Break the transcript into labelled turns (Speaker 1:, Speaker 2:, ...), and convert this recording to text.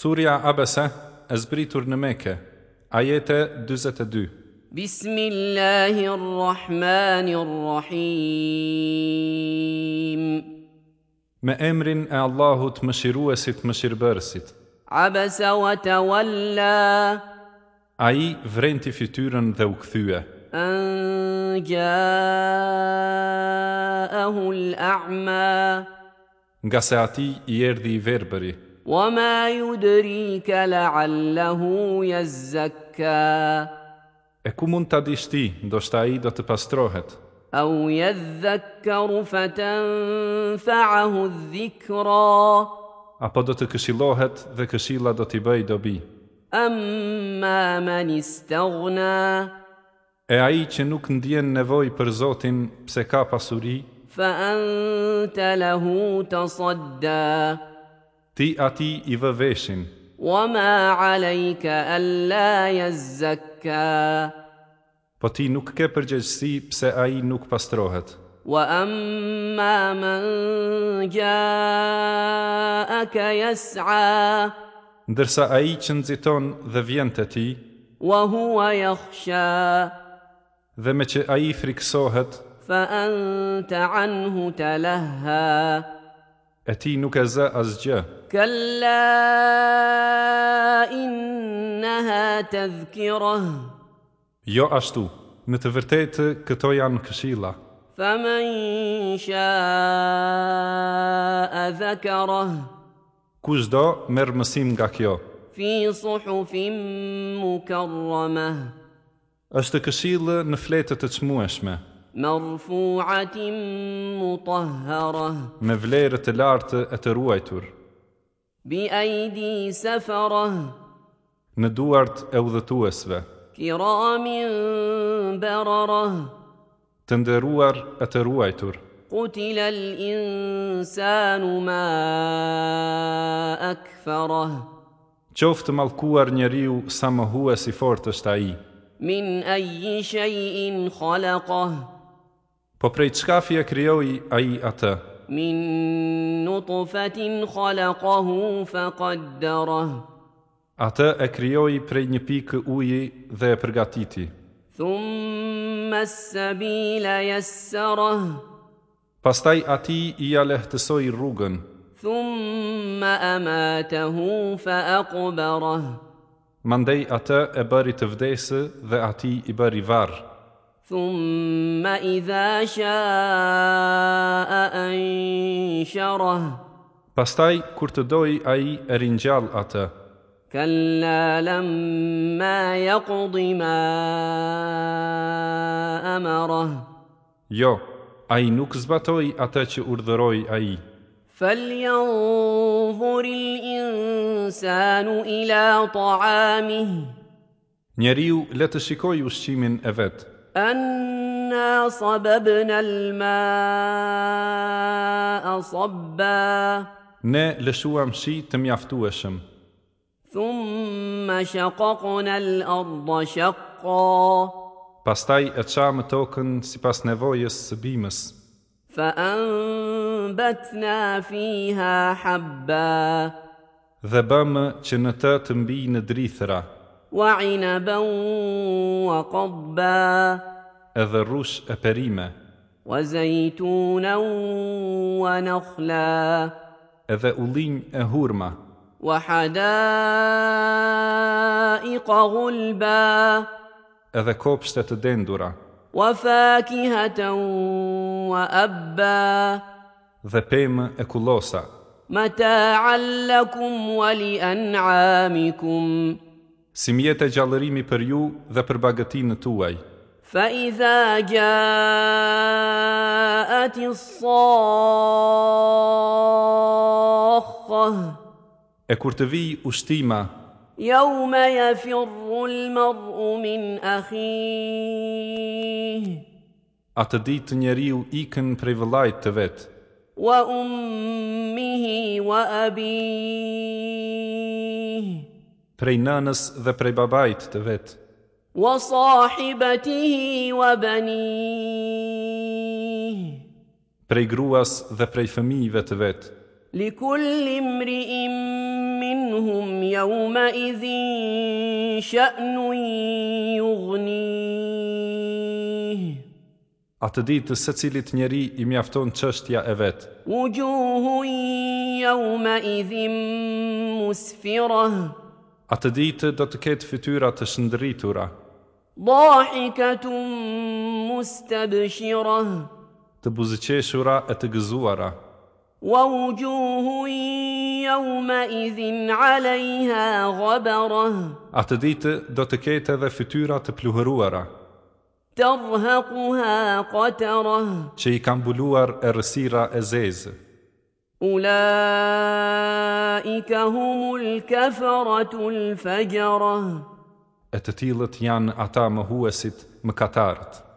Speaker 1: Surja Abese e zbritur në Mekë, ajete 42.
Speaker 2: بسم الله الرحمن الرحيم
Speaker 1: Me emrin e Allahut mëshiruesit mëshirbërësit,
Speaker 2: عبس وتولى
Speaker 1: ai vrenti fytyrën dhe u kthye,
Speaker 2: أن جاءه الأعمى
Speaker 1: nga se ati i erdi i verberi,
Speaker 2: وما يدريك لعله يزكى
Speaker 1: e ku mund ta dish ti, ndoshta ai do të pastrohet,
Speaker 2: أو يذكر فتنفعه الذكرى
Speaker 1: apo do të këshillohet dhe këshilla do t'i bëj dobi.
Speaker 2: أما من استغنى
Speaker 1: E ai që nuk ndjen nevojë për Zotin pse ka pasuri,
Speaker 2: فأنت له تصدى
Speaker 1: ti ati i vë veshin,
Speaker 2: وما عليك ألا يزكى
Speaker 1: po ti nuk ke përgjegjësi pse ai nuk pastrohet.
Speaker 2: وأما من جاءك يسعى
Speaker 1: ndërsa a i që nëziton dhe vjen të ti,
Speaker 2: وهو يخشى
Speaker 1: dhe me që a i friksohet,
Speaker 2: فأنت عنه تلهى
Speaker 1: e ti nuk e zë asgjë.
Speaker 2: كلا إنها تذكره
Speaker 1: Jo ashtu, në të vërtetë këto janë këshilla.
Speaker 2: فمن شاء ذكره
Speaker 1: Kushdo merë mësim nga kjo.
Speaker 2: في صحف مكرمه
Speaker 1: është këshillë në fletët të çmueshme,
Speaker 2: مرفوعه مطهره
Speaker 1: me vlerët të lartë e të ruajtur,
Speaker 2: بايدي سفره
Speaker 1: në duart e udhëtuesve,
Speaker 2: كرام برره
Speaker 1: të nderuar e të ruajtur.
Speaker 2: قتل الانسان ما اكفره
Speaker 1: Qoftë malkuar njeriu sa më hua si fort është a i,
Speaker 2: من اي شيء خلقه
Speaker 1: po prej qkafje kryoj a i atë,
Speaker 2: من نطفة خلقه فقدره
Speaker 1: Atë e krijoi prej një pikë uji dhe e përgatiti.
Speaker 2: ثم السبيل يسره
Speaker 1: Pastaj ati i ja lehtësoi rrugën,
Speaker 2: ثم أماته فأقبره
Speaker 1: mandej atë e bëri të vdesë dhe ati i bëri varr.
Speaker 2: ثم إذا شاء أنشره
Speaker 1: Pastaj kur të doi ai e ringjall atë,
Speaker 2: كلا لما يقض ما أمره
Speaker 1: jo, ai nuk zbatoi atë që urdhëroi ai.
Speaker 2: فلينظر الإنسان إلى طعامه
Speaker 1: Njeriu le të shikojë ushqimin e vet.
Speaker 2: أنا صببنا الماء صبا
Speaker 1: Ne lëshuam shi të mjaftueshëm,
Speaker 2: ثم شققنا الأرض شقا
Speaker 1: pastaj e çamë tokën sipas nevojës së bimës.
Speaker 2: فأنبتنا فيها حبا
Speaker 1: Dhe bëmë që në të të mbi në drithëra,
Speaker 2: وعنبا وقضبا
Speaker 1: edhe rrush e perime,
Speaker 2: وزيتونا ونخلا
Speaker 1: edhe ullinj e hurma,
Speaker 2: وحدائق غلبا
Speaker 1: edhe kopshte të dendura,
Speaker 2: وفاكهة وأبا
Speaker 1: dhe pemë e kullosa,
Speaker 2: متاعا لكم ولأنعامكم
Speaker 1: si mjetë e gjallërimi për ju dhe për bagëtinë tuaj.
Speaker 2: فإذا جاءت الصاخة
Speaker 1: E kur të vij ushtima,
Speaker 2: يوم يفر المرء من أخيه
Speaker 1: atë ditë njeriu ikën prej vëllait të vetë,
Speaker 2: وأمه وأبيه
Speaker 1: prej nënës dhe prej babait të vetë,
Speaker 2: وصاحبته وبنيه
Speaker 1: prej gruas dhe prej fëmijëve të vetë.
Speaker 2: لكل امرئ منهم يومئذ شأن يغنيه
Speaker 1: Atë ditë se cilit njeri i mjafton qështja e vetë.
Speaker 2: وجوه يومئذ مسفرة
Speaker 1: Atë ditë do të ketë fytyra të shëndritura,
Speaker 2: ضاحكة مستبشرة
Speaker 1: të buzëqeshura e të gëzuara.
Speaker 2: ووجوه يومئذ عليها غبرة
Speaker 1: Atë ditë do të ketë edhe fytyra të pluhëruara,
Speaker 2: ترهقها قترة
Speaker 1: që i kanë buluar e rësira e zezë.
Speaker 2: أولئك هم الكفرة الفجرة
Speaker 1: E të tilët janë ata më huesit më katarët.